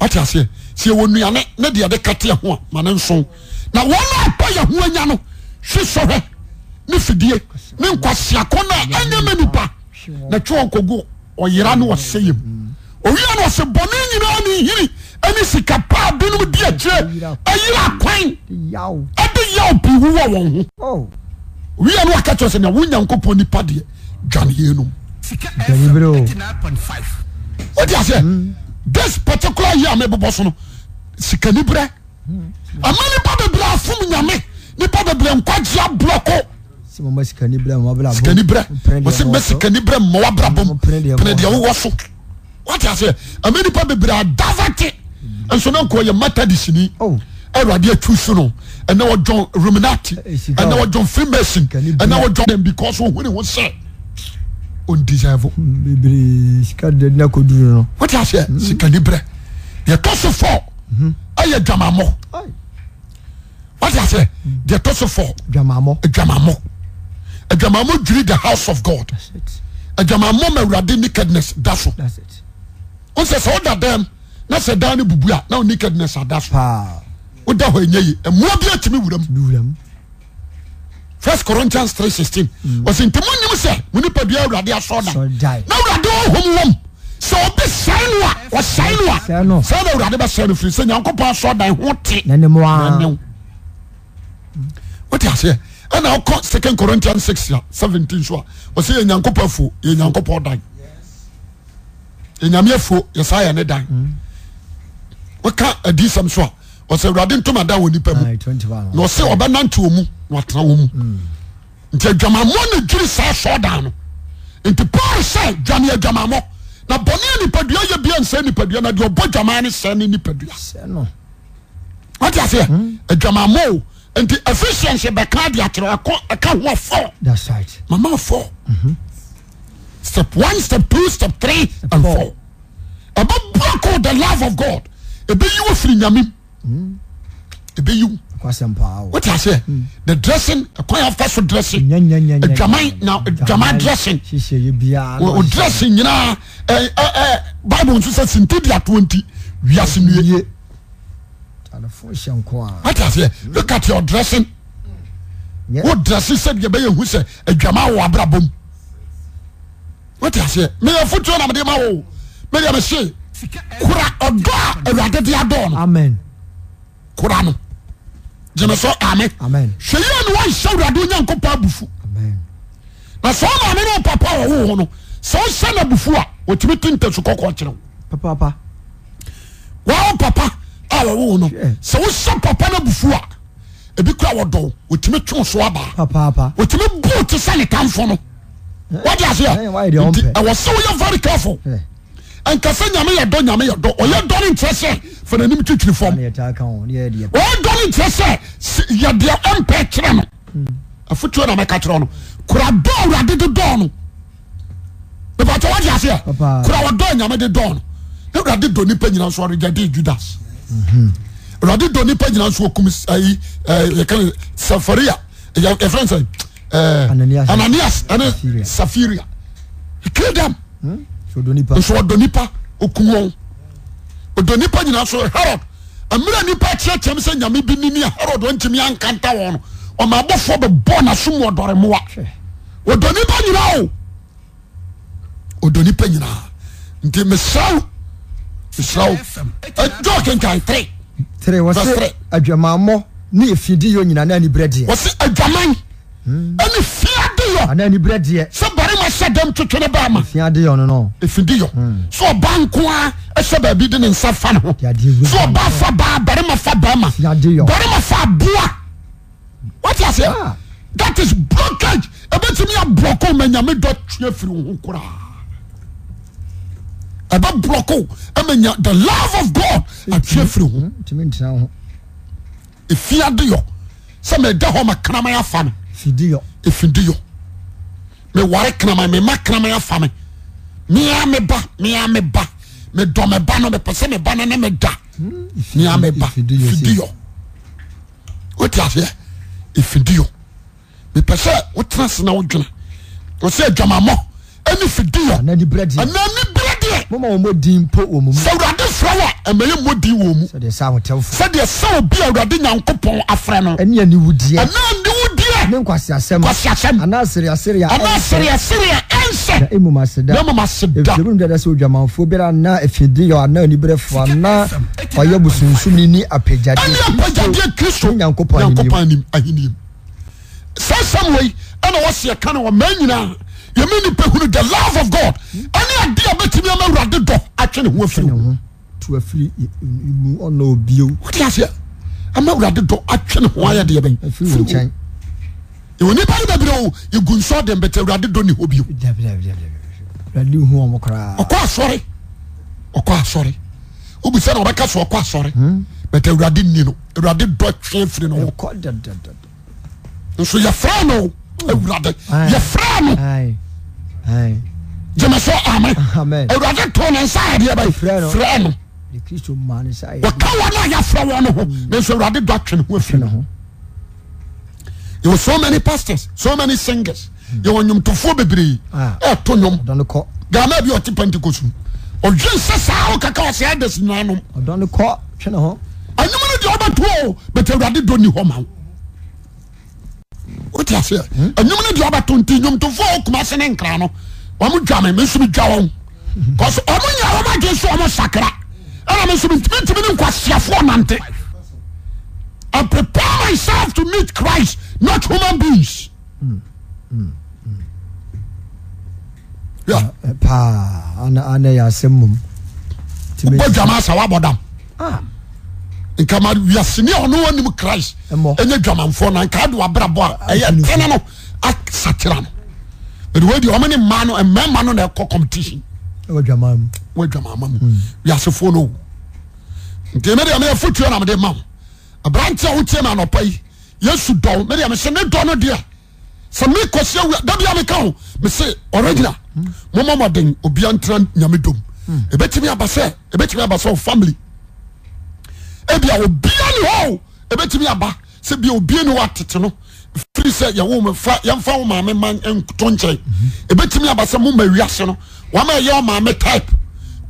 [SPEAKER 1] wate aseɛ sɛ yɛwɔ nnuane ne deɛ de kateɛ ho a ma ne nso na wɔn a apɔ yɛ ho anya no hwe sɔhwɛ ne fidie ne nkwaseako no a ɛnyɛ ma nipa na twe wɔn kɔgu ɔyera ne ɔsɛ yɛ mu owia no ɔsɛ bɔne nyinaa ne nhiri ne sika paa binom di akyirɛ ayera akwan
[SPEAKER 2] yaw
[SPEAKER 1] ɛde yaw pii wowɔ wɔn ho
[SPEAKER 2] oh
[SPEAKER 1] wia no waka kyerɛ sɛ nea wo nyankopɔn nipa deɛ dwaneyɛ nom
[SPEAKER 2] bere o.
[SPEAKER 1] wode aseɛ this particular year a mebobɔ so no sikani berɛ ama nipa bebrɛ afom nyame nipa bebrɛ nkwagye aborɔko
[SPEAKER 2] sɛ mama sikani brɛ mabla
[SPEAKER 1] sikani berɛ wɔsi bɛ sikani berɛ mma wabra bom
[SPEAKER 2] Ɔmpene deɛ
[SPEAKER 1] pene deɛ
[SPEAKER 2] ɛwɔ
[SPEAKER 1] wowɔ so wate aseɛ ama nipa bebree adava te nso na nkɔ yɛ matadisini
[SPEAKER 2] Oh.
[SPEAKER 1] awurade atu so no ɛnɛ wɔdwɔn ruminati
[SPEAKER 2] Eh, sika
[SPEAKER 1] ɛnɛ
[SPEAKER 2] wɔ.
[SPEAKER 1] wɔdwɔn freemason
[SPEAKER 2] Sikani
[SPEAKER 1] ɛnɛ
[SPEAKER 2] berɛ.
[SPEAKER 1] wɔdwɔn them because ohun ho sɛ ondeserve
[SPEAKER 2] bebree sika dadina kɔduru no
[SPEAKER 1] wate aseɛ sikani berɛ deɛ tɔ so fɔ ɛyɛ dwamammɔ
[SPEAKER 2] Ai,
[SPEAKER 1] wate aseɛ deɛ tɔ so fɔ
[SPEAKER 2] dwamammɔ
[SPEAKER 1] adwamammɔ adwamammɔ dwiri the house of god
[SPEAKER 2] That's it.
[SPEAKER 1] adwamammɔ ma awurade nakedness da so
[SPEAKER 2] That's it.
[SPEAKER 1] wosɛ sɛ woda dan mu na sɛ dan no bubu a na wo nakedness ada so
[SPEAKER 2] paa
[SPEAKER 1] woda hɔ ɛnyɛ yi mmoa bi atumi wuram
[SPEAKER 2] duwuram
[SPEAKER 1] first corinthians 316 ɔsɛ nti monim sɛ mo nipadua awurade asɔ da
[SPEAKER 2] Asɔre dan.
[SPEAKER 1] na awurade wɔhom wɔm sɛ obi sɛe no a wɔsɛe no
[SPEAKER 2] Sɛe no.
[SPEAKER 1] a sɛe na awurade bɛsɛe no firi sɛ nyankopɔn asɔ dan ho te
[SPEAKER 2] na ne mu
[SPEAKER 1] na
[SPEAKER 2] a
[SPEAKER 1] ɛnyɛ wo. wote aseɛ ɛna wokɔ second corinthians 6 a 17 so a ɔsɛ yɛ nyankopɔn afuo yɛ nyankopɔn dan yɛnyame afuo yɛsaa yɛ ne dan woka adisɛm so a ɔsɛ awurade ntom ada wɔ nipa mu
[SPEAKER 2] Ai, 21
[SPEAKER 1] na ɔsɛ ɔbɛnante wɔ mu na watena wɔ mu nti adwamammɔ ne dwiri saa sɔɔdan no nti paul sɛ dwane adwamammɔ na bɔne a nipadua yɛ bia nsɛ nipadua na deɛ ɔbɔ dwamaa ne sɛ ne nipadua
[SPEAKER 2] sɛ no
[SPEAKER 1] wọ́n ti ase yẹ adwamammɔ o nti efisiensi bɛka adi akyerɛ ɛkɔ ɛka ho fɔ
[SPEAKER 2] that's right
[SPEAKER 1] mama fɔ step one step two step three and
[SPEAKER 2] four.
[SPEAKER 1] four ɛbɛ buako the love of god ebi yi wo firi nyame ebi yi wo
[SPEAKER 2] kwasɛm paa o
[SPEAKER 1] wọ́n ti ase
[SPEAKER 2] Hmm.
[SPEAKER 1] yɛ the dressing ɛkɔ yɛ afa so dressing
[SPEAKER 2] nyanyanyanya
[SPEAKER 1] adwaman na adwaman dressing
[SPEAKER 2] hyehyɛ yɛ biara
[SPEAKER 1] o
[SPEAKER 2] na
[SPEAKER 1] o
[SPEAKER 2] ɔhyehyɛ.
[SPEAKER 1] dressing nyinaa ɛ ɛ ɛ eh, bible nso sɛ sinti di ato nti wiase nue
[SPEAKER 2] ye tanefo hyɛ nko a
[SPEAKER 1] wọ́n ti ase yɛ look at your dressing.
[SPEAKER 2] Nyɛ-
[SPEAKER 1] wo drɛse sɛdeɛ bɛyɛ hu sɛ adwama wɔ abrabɔ mu wote aseɛ meyɛ fotuo na mede ma wo medeɛ mese kora ɔdɔ a awurade de adɔɔ no
[SPEAKER 2] amen
[SPEAKER 1] kora no gyeme so ame
[SPEAKER 2] Amen.
[SPEAKER 1] hwɛ yie ne woanhyɛ awurade onyankopɔn abufu
[SPEAKER 2] amen
[SPEAKER 1] na sɛ womaame ne wo papa wɔ wo ho no sɛ wohyɛ no abufu a wɔtumi te ntasu kɔkɔɔ kyerɛ wo
[SPEAKER 2] papapa
[SPEAKER 1] wawo papa a wɔwo wo no
[SPEAKER 2] Hwɛ.
[SPEAKER 1] sɛ wohyɛ papa no abufu a ebi kora wɔdɔ wo wɔtumi two so abaa
[SPEAKER 2] papapa
[SPEAKER 1] wotumi buu te sɛ ne tamfo no wode
[SPEAKER 2] ɛyɛ wayɛ
[SPEAKER 1] aseɛ
[SPEAKER 2] deɛ ɔmpɛ.
[SPEAKER 1] nti ɛwɔ sɛ woyɛ very careful
[SPEAKER 2] ɛ
[SPEAKER 1] ɛnka sɛ nyame yɛ dɔ nyame yɛ dɔ ɔyɛ dɔ no nkyerɛ sɛ fa nanim twitwiri
[SPEAKER 2] ne
[SPEAKER 1] fam
[SPEAKER 2] yɛ taa ka ho ne yɛ deɛ
[SPEAKER 1] ɔyɛ dɔ no nkyerɛ sɛ s- yɛ deɛ ɔmpɛ kyerɛ no afotuo na mɛka kyerɛ no kora dɔ awurade de dɔɔ no mepatɛ wode aseɛ
[SPEAKER 2] Papa.
[SPEAKER 1] kora wɔdɔ nyame de dɔɔ no na awurade dɔ nipa nyina nso ɔregyade judas
[SPEAKER 2] Mhm.
[SPEAKER 1] awurade dɔ nipa nyina nso ɔkum s- ayi ɛɛ, yɛka no safaria yɛ- yɛfrɛ no sɛ ɛɛ,
[SPEAKER 2] Ananias.
[SPEAKER 1] ananias ɛne
[SPEAKER 2] Sapphira.
[SPEAKER 1] safiria kre dam
[SPEAKER 2] so do nipa
[SPEAKER 1] nso ɔdɔ nipa okum wɔn ɔdɔ nipa nyinaa so herod mmerɛ nipa kyerɛkyerɛm sɛ nyame bi nini a herod ntumi ankanta wɔn no ɔma abɔfoɔ bɛbɔ n'asom wɔ dɔre mmoa
[SPEAKER 2] Hwɛ.
[SPEAKER 1] ɔdɔ nipa nyinaa o ɔdɔ nipa nyinaa nti mesra wo mesra wo ɛjɔ kenkan tere
[SPEAKER 2] tere wɔ
[SPEAKER 1] Basere.
[SPEAKER 2] se adwamammɔ ne ɛfidi yɛ nyina ne aniberɛ deɛ
[SPEAKER 1] wɔsi adwaman ɛne fia de yɔ
[SPEAKER 2] anaa aniberɛ deɛ
[SPEAKER 1] sɛ barima hyɛ dɛm twetwe ne baa ma
[SPEAKER 2] fia de yɛ ɔno no
[SPEAKER 1] ɛfidi yɔ sɛ ɔba nko a ɛhyɛ baabi de ne nsa fa ne ho
[SPEAKER 2] De adeɛ wura
[SPEAKER 1] sɛ ɔba fa baa barima fa barima
[SPEAKER 2] Yade yɔ.
[SPEAKER 1] barima fa aboa wate aseɛ
[SPEAKER 2] Ah.
[SPEAKER 1] that is blockage E ɛbɛtumi aborɔko ma nyame dɔ twe afiri wo ho koraa E ɛbɛborɔko ama e nya the love of god atwe afiri wo ho
[SPEAKER 2] Hmm, ntumi ntena ho
[SPEAKER 1] E ɛfiade yɔ sɛ meda hɔ ma kraman afa me
[SPEAKER 2] fidi yɔ
[SPEAKER 1] ɛfindi yɔ meware kraman mema kraman afa me mea me ba mea me ba medɔ me ba no mepɛ sɛ me ba no ne me da mea me ba
[SPEAKER 2] Ɛfidi yɔ
[SPEAKER 1] fidi yɔ wote aseɛ ɛfidi yɔ mepɛ sɛ wotena se na wodwena ɔsɛ adwamammɔ ɛne fidi yɔ
[SPEAKER 2] anaa aniberɛ deɛ
[SPEAKER 1] anaa ne berɛ deɛ
[SPEAKER 2] moma wɔ mɔdin mpo wɔ mu mu
[SPEAKER 1] sɛ awurade frɛ wo a ɛmayɛ mmɔdi wɔ mu
[SPEAKER 2] sɛdeɛ sɛ ahotɛmfo
[SPEAKER 1] sɛdeɛ sɛ obi a awurade nyankopɔn afrɛ no
[SPEAKER 2] ɛne aniwudeɛ
[SPEAKER 1] anaa ne wo deɛ
[SPEAKER 2] ne nkwaseasɛm
[SPEAKER 1] kwasiasɛm
[SPEAKER 2] anaa sereaserea
[SPEAKER 1] anaa sereɛsereɛ ɛnsɛ
[SPEAKER 2] na mmom ase da
[SPEAKER 1] na mama se da
[SPEAKER 2] ebinom dada sɛ odwamanfoɔ biara na afidi yɛ ana oniberɛfoɔ ana ɔyɛ busunsumni ni
[SPEAKER 1] ɛne
[SPEAKER 2] apagyadeɛ
[SPEAKER 1] apagyadeɛ kristo
[SPEAKER 2] Ne Nyankopɔn
[SPEAKER 1] anim ahenniam saa sɛm wei ɛna wɔseɛ ka no wɔ ma nyinaa yɛme nipa hunu the love of god ɛne ade a bɛtumi ama awurade dɔ atwe ne ho afiri
[SPEAKER 2] ne
[SPEAKER 1] wo
[SPEAKER 2] ho to afiri i- i- mu ɔna obio
[SPEAKER 1] wote aseɛ ama awurade dɔ atwe ne ho ayɛ deɛ bɛn
[SPEAKER 2] afiri wo nkyɛn
[SPEAKER 1] ɛwɔ nipa no bɛbrɛ o yɛgu nsɔ den bɛtɛ awurade dɔ ne hɔ bio
[SPEAKER 2] dabi dabi dabi dabi awurade hu wɔn koraa
[SPEAKER 1] ɔkɔ asɔre ɔkɔ asɔre obi sɛ na ɔbɛka so ɔkɔ
[SPEAKER 2] Hmm?
[SPEAKER 1] asɔre bɛtɛ awurade ni no awurade dɔ twe firi no ho
[SPEAKER 2] ɔkɔ dadadada
[SPEAKER 1] nso yɛfrɛ no awurade
[SPEAKER 2] Aye.
[SPEAKER 1] yɛfrɛ no
[SPEAKER 2] ayi ayi
[SPEAKER 1] gyeme so amen
[SPEAKER 2] Amen.
[SPEAKER 1] awurade to ne nsa adeɛ
[SPEAKER 2] Frɛ
[SPEAKER 1] bɛyɛ
[SPEAKER 2] no.
[SPEAKER 1] frɛ no
[SPEAKER 2] ne kristu maa ne sa yɛ
[SPEAKER 1] wɔka wɔn a yɛafrɛ wɔn no ho
[SPEAKER 2] Mm.
[SPEAKER 1] nanso awurade dɔ atwe ne ho afiri
[SPEAKER 2] ne
[SPEAKER 1] no
[SPEAKER 2] ho
[SPEAKER 1] yɛwɔ so many pastors so many singers yɛwɔ nnwomtofoɔ bebree
[SPEAKER 2] Mm. Ah.
[SPEAKER 1] ɛɛto nnwom
[SPEAKER 2] ɔdɔ ne kɔ
[SPEAKER 1] ghana bi a ɔte pentecost mu ɔdwe nsɛ saa wokaka ɔsɛ adɛs nyinaanom
[SPEAKER 2] ɔdɔ ne kɔ twɛ ne ho
[SPEAKER 1] anim no deɛ wobɛto o but awurade dɔ ni hɔ ma wo wote aseɛ anim no deɛ wobɛto nti nnwomtofoɔ a ɔkuma se ne nkra no ɔmo dwa me me nso medwa wɔn bcause ɔmo nya wɔm agye so ɔmo sakra ɛna me nso mentumitumi ne nkwaseafoɔ nante I prepare myself to meet Christ not human beings Yeah.
[SPEAKER 2] Ɛ, paa ana ana yɛ asɛm mom tumi
[SPEAKER 1] wobɔ dwama asa wabɔ dam
[SPEAKER 2] Ah.
[SPEAKER 1] nkama wiasene a ɔno wanim christ
[SPEAKER 2] Ɛmmɔ.
[SPEAKER 1] ɛnyɛ dwamanfoɔ na nka de wabrabɔ a ɛyɛ tene no asakyera no bɛde wadi ɔma ne ma no mmarima no na ɛkɔ competition
[SPEAKER 2] ɛwɔ dwamaa mu
[SPEAKER 1] wadwamaama
[SPEAKER 2] Hmm.
[SPEAKER 1] mu wiasefoɔ no o nti mede meyɛfo tuo na mede ma wo aberante a wotie me anɔpa yi yesu dɔ wo mede mese ne dɔ no deɛ sɛ mekɔsia wi da bia meka ho mese ɔregina momɔ mɔden obia ntera nyame dom ɛbɛtumi aba sɛ ɛbɛtumi aba sɛ wo family ebia obia ne hɔ o, ɛbɛtumi aba sɛ bia obia ne hɔ atete no firi sɛ yɛwo me fa- yɛmfa wo maame ma nto nkyɛn ɛbɛtumi aba sɛ moma wiase no wama ɛyɛ wo maame type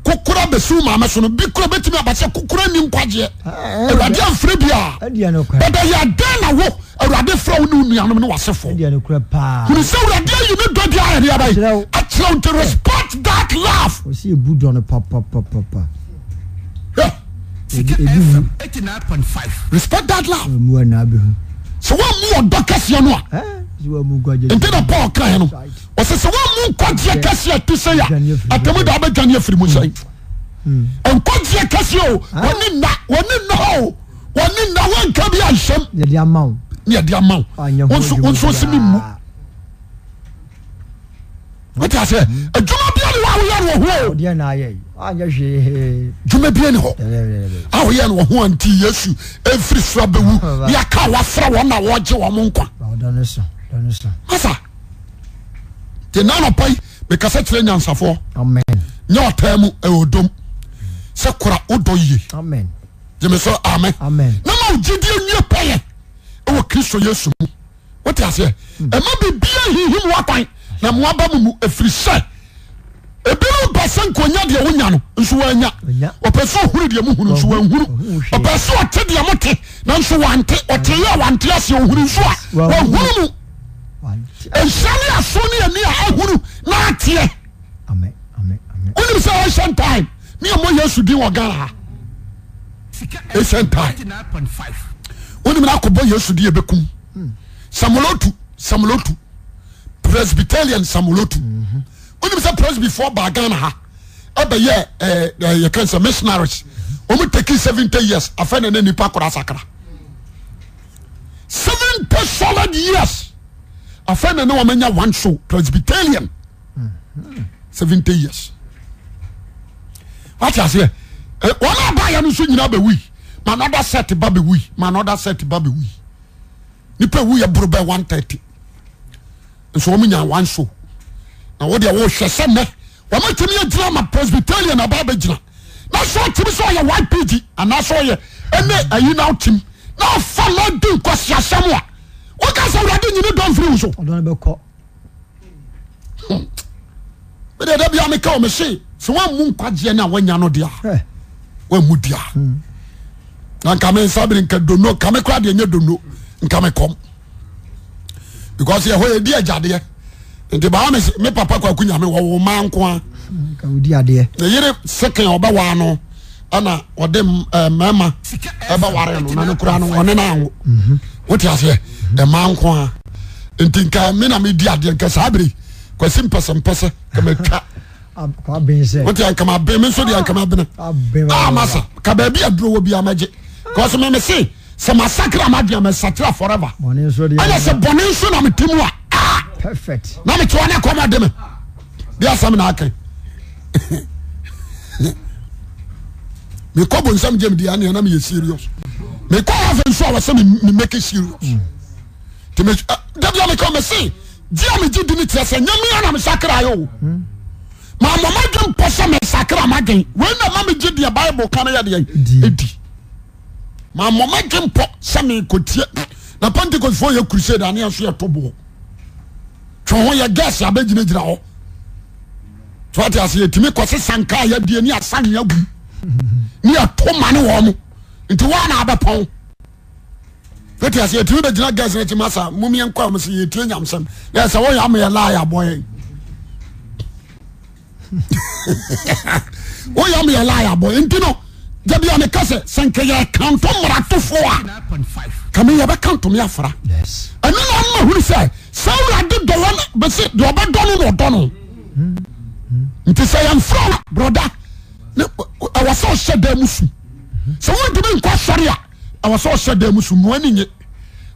[SPEAKER 1] kokora bɛsiw maame so no bi kora bɛtumi aba sɛ kokora ni nkwagyeɛ
[SPEAKER 2] Ah,
[SPEAKER 1] awurade amfrɛ bia
[SPEAKER 2] ɛdeɛ no kora
[SPEAKER 1] bɛda yɛ adɛn na wo awurade frɛ wo ne wo nuanom ne wasefoɔ
[SPEAKER 2] ɛdeɛ no kora paa
[SPEAKER 1] hunu sɛ awurade ayi ne dɔ bia
[SPEAKER 2] Kyerɛ wo.
[SPEAKER 1] ɛreaba akyerɛ wo nti respect that love
[SPEAKER 2] wɔsi ebu dɔ no papapapapa
[SPEAKER 1] Hwɛ,
[SPEAKER 3] Sika
[SPEAKER 2] ebi wu.
[SPEAKER 3] FM 89.5.
[SPEAKER 1] respect that love
[SPEAKER 2] mu anaa bi ho
[SPEAKER 1] sɛ woamu ɔdɔ kɛseɛ no a
[SPEAKER 2] ɛɛ si wɔn mu gɔdze
[SPEAKER 1] nti na paul kae no
[SPEAKER 2] Right.
[SPEAKER 1] ɔsɛ sɛ woamu nkwagyeɛ kɛseɛ te sɛ
[SPEAKER 2] Dwane
[SPEAKER 1] a
[SPEAKER 2] afiri
[SPEAKER 1] atamu
[SPEAKER 2] mu. Hmm.
[SPEAKER 1] da wobɛdwane afiri mu sɛe nkwagyeɛ kɛseɛ o
[SPEAKER 2] Ah.
[SPEAKER 1] wɔne nna wɔne nna hɔ o wɔne nna woanka bi anhyɛm
[SPEAKER 2] yɛde ama wo
[SPEAKER 1] ne yɛde ama wo
[SPEAKER 2] anyɛ
[SPEAKER 1] Wo nso- wo nso se me mu wote
[SPEAKER 2] Hmm.
[SPEAKER 1] asɛ adwuma bia ne hɔ a woyɛ no wɔ ho o
[SPEAKER 2] ɔdeɛ na ayɛ yi anyɛ hwee
[SPEAKER 1] dwuma bia ne hɔ
[SPEAKER 2] yɛbɛyɛbɛyɛbɛ
[SPEAKER 1] a woyɛ no wɔ ho a nti yesu ɛmfiri soro bɛwu
[SPEAKER 2] Aba.
[SPEAKER 1] ne yɛka a wafrɛ wɔn na wɔgye wɔ mo nkwa
[SPEAKER 2] ɔdɔ ne so ɔdɔ ne so
[SPEAKER 1] masa nti nna nɔpa yi mekasa kyerɛ nyansafoɔ
[SPEAKER 2] amen
[SPEAKER 1] nyɛ ɔtaa mu ɛwɔ dom sɛ kora wodɔ yie
[SPEAKER 2] amen
[SPEAKER 1] gyeme sɛ amɛ na
[SPEAKER 2] amen
[SPEAKER 1] ma wo gyidie nwie pɛyɛ ɛwɔ kristo yesu mu wote aseɛ ɛma bibia hihim wakwan na mmoaba mu mu ɛfiri sɛ ebinom pɛ sɛ nkonya deɛ wonya no nso woanya
[SPEAKER 2] Woanya.
[SPEAKER 1] ɔpɛ sɛ ɔhunu deɛ mohunu nso
[SPEAKER 2] Wɔnhu-
[SPEAKER 1] wanhunu
[SPEAKER 2] ɔnhu hwee.
[SPEAKER 1] ɔpɛ sɛ ɔte deɛ mote nanso wante ɔteyɛ a wante aseɛ ɔhunu nso a
[SPEAKER 2] Wɔnhunu.
[SPEAKER 1] wahunu mu
[SPEAKER 2] Wante-
[SPEAKER 1] ɛnhyɛ ne aso ne ani a ahunu na ateɛ
[SPEAKER 2] amen amen amen
[SPEAKER 1] wonim sɛ ancient time ne ɛmɔ yesu din wɔ ghana ha
[SPEAKER 3] Sika
[SPEAKER 1] Asian
[SPEAKER 3] FM
[SPEAKER 1] time.
[SPEAKER 3] 89.5.
[SPEAKER 1] wonim na akɔbɔ yesu de yɛbɛkum samolotu samolotu presbyterian samolotu wonim sɛ presbyfoɔ baa ghana ha ɛbɛyɛ eh, eh, yɛkan sɛ missionaries ɔmu taki 70 years afɛ ne ne nipa kora sakra 70 solid years afɛ ne ne wɔmanya one show presbyterian 70 years wate aseɛ Eh, wɔn a baayɛ no nso nyinaa bɛwui ma another set ba bɛwui ma another set ba bɛwui nipa wu yɛ boro bɛɛ one thirty nso wɔn nya one so na wɔde a wɔhwɛ sɛ nnɛ wɔn atumi agyina ma presbyterian na ɔbaa bɛgyina na sɛ ɔtumi sɛ ɔyɛ ypg anaasɛ ɔyɛ ɛnɛ ayi na ɔtim na ɔfa lɔdi nkɔsiasɛm a wɔka sɛ awurade nyini dɔn firi wo so
[SPEAKER 2] ɔdɔ ne bɛ kɔ
[SPEAKER 1] mede da bia meka wɔ me se sɛ woammu nkwagyeɛ no a woanya no deɛ a
[SPEAKER 2] hɛ
[SPEAKER 1] wamu dia na nka me nsa bere nka dono nka me kora deɛ nyɛ dono nka me kɔm because yɛhɔ yɛdi agyadeɛ nti baa me se- me papa kwako nyame wɔwo ma nko a
[SPEAKER 2] nka odi adeɛ
[SPEAKER 1] na yere sekan a ɔbɛwaa no ɛna ɔde m- ɛɛ, mmarima
[SPEAKER 3] Sika
[SPEAKER 1] ɛbɛware no
[SPEAKER 3] FM
[SPEAKER 1] na ne kora no
[SPEAKER 3] 89.5.
[SPEAKER 1] ɔne no anwo wote aseɛ ɛma nko a nti nka me na medi adeɛ nka saa bere kwasi mpɛsɛmpɛsɛ kamatwa
[SPEAKER 2] Ab- kɔ abɛn sɛ
[SPEAKER 1] wote ankama bene me nso deɛ ankama bene
[SPEAKER 2] abɛn
[SPEAKER 1] amasa ka baabi aduro wɔ biaa magye kɔso meme se sɛ masakra madwea mesakra forever
[SPEAKER 2] bɔne nso
[SPEAKER 1] ɛnɛ sɛ
[SPEAKER 2] deɛ
[SPEAKER 1] bɔne nso na metim a ah!
[SPEAKER 2] perfect
[SPEAKER 1] na mete wane kɔma de me bi asɛm na ake mekɔ bonsam gyam di aneɛ na meyɛ serious mekɔ afe nso a wɔ sɛ memɛke serious nti me- ɛ, da bia mekɔ me se gye a megye di ne teɛ sɛ nyamia na mesakraeɛ o mamɔmadwe mpɔ sɛ mesakra madwen wei na ma megye deɛ bible ka no yɛdeɛ
[SPEAKER 2] Di.
[SPEAKER 1] ɛdi mamɔmadwe mpɔ sɛ mekɔtie na pentecostfoɔ yɛ crusade aneɛ so yɛto boɔ twe ho yɛ gas abɛgyinagyina hɔ twate ase yɛtumi kɔse sanka a yɛdie ne asane agum ne yɛto ma ne wɔ mo nti woa na abɛpɔn twate ase yɛtumi bɛgyina gas no akyima sa momiɛnkɔ a m sɛ yɛtie nyamsɛm na yɛ sɛ woyɛ amayɛ laa yɛabɔyɛ woyɛ amayɛ laa yɛabɔyɛ nti no da bia meka sɛ sɛnka yɛkanto mmaratofoɔ a
[SPEAKER 3] nine point five.
[SPEAKER 1] kame yɛbɛka ntome afra
[SPEAKER 2] yes
[SPEAKER 1] ɛno na ɔma huru sɛ sɛ wurade dɔwɔ no bɛsɛ deɛ ɔbɛdɔ no na ɔdɔ no nti sɛ yɛmfrɛ no broda ne- ɛwɔ sɛ ɔhyɛ da mu su sɛ wontumi nkɔ sɔre a ɛwɔ sɛ ɔhyɛ da mu su mmoa no nye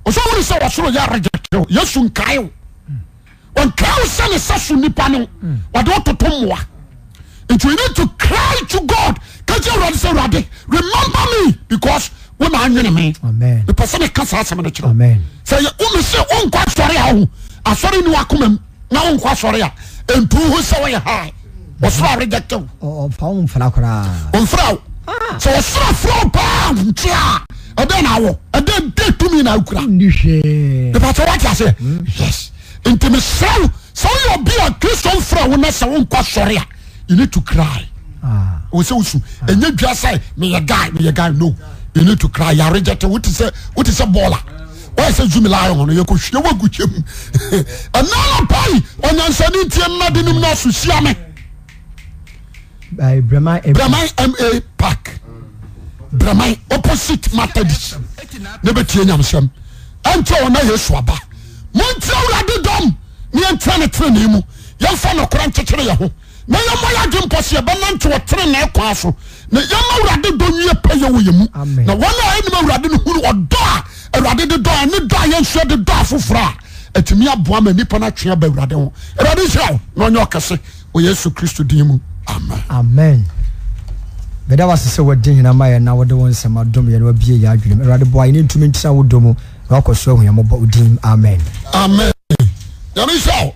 [SPEAKER 1] ɔsɛ wore sɛ wɔsoro yɛ regyekyew yɛsu nkae wo ɔnkae wo sɛne sɛ so nnipa no wɔde wototo mmoa nti we need to cry to god ka kyɛ awurade sɛ awurade remember me because wona anwene me
[SPEAKER 2] amen
[SPEAKER 1] mepɛ sɛ meka saa asɛm no kyerɛ wo
[SPEAKER 2] amen
[SPEAKER 1] sɛ yɛ- wome se wonkɔ asɔre a wo asɔre ne wakoma mu na wonkɔ asɔre a ɛntu ho sɛ woyɛ ha ɔsoro rejecte wo
[SPEAKER 2] Ɔ- ɔfa wo mfra koraa
[SPEAKER 1] ɔmfrɛ wo sɛ ɔsoro frɛ wo paa nkyea a ɛdɛn na awɔ ɛdɛn de tumi na akura
[SPEAKER 2] wonni hwee
[SPEAKER 1] mepɛsɛ woate aseɛ yes nti mesrɛ wo sɛ woyɛ ɔbi a kristo mfrɛ wo na sɛ wonkɔ asɔre a you need to cry
[SPEAKER 2] Ah,
[SPEAKER 1] wò sẹ wusu ẹnyẹ dua sẹ miyẹ guy miyẹ guy no you need to cry yàrá jẹ tẹ wò ti sẹ wò ti sẹ bọọla wọ́n yẹ sẹ zumi láàyè wọn yẹ kò hwẹ́ wọ́n gu kyẹ́ mu ẹ̀nàlá báyìí ọ̀nyansani tiẹ̀ nnadi ni mu náà sùn sí àmì
[SPEAKER 2] ɛɛ, e Brema Ebi-
[SPEAKER 1] Braman ma park Braman opposite Methodist ne bɛ tie nyamsɛm ɛnkyɛ wɔn na yɛ suaba mo n tẹ awurade dɔm ni yɛn tẹ ne tẹ ne mu yɛn fa na kora nkyekyere yɛ ho na yɛn mɔ yɛ adi mpɔsi yɛ bɛ nan tẹ wɔ tere na ɛkwan so na yɛn mɔ awurade dɔ nyiye pɛ yɛ wɔ yɛ mu
[SPEAKER 2] Amen.
[SPEAKER 1] na wɔn a ɛnum awurade no hunu ɔdɔ a awurade de dɔ a ne dɔ a yɛn nsuo de dɔ afoforɔ a ɛtumi aboa ma nipa na twea ba awurade ho awurade nhyira wo na ɔnyɛ ɔkɛse wɔ yesu kristo din mu amen.
[SPEAKER 2] amen bɛda wase sɛ wɔde nyina ma yɛ na wode wo nsɛm adom yɛ na wabie yɛ adwenem awurade boa yɛne ntumi ntena wo dɔ mu na wakɔ so ahuyammɔbɔ wodim amen
[SPEAKER 1] amen yàrá sọ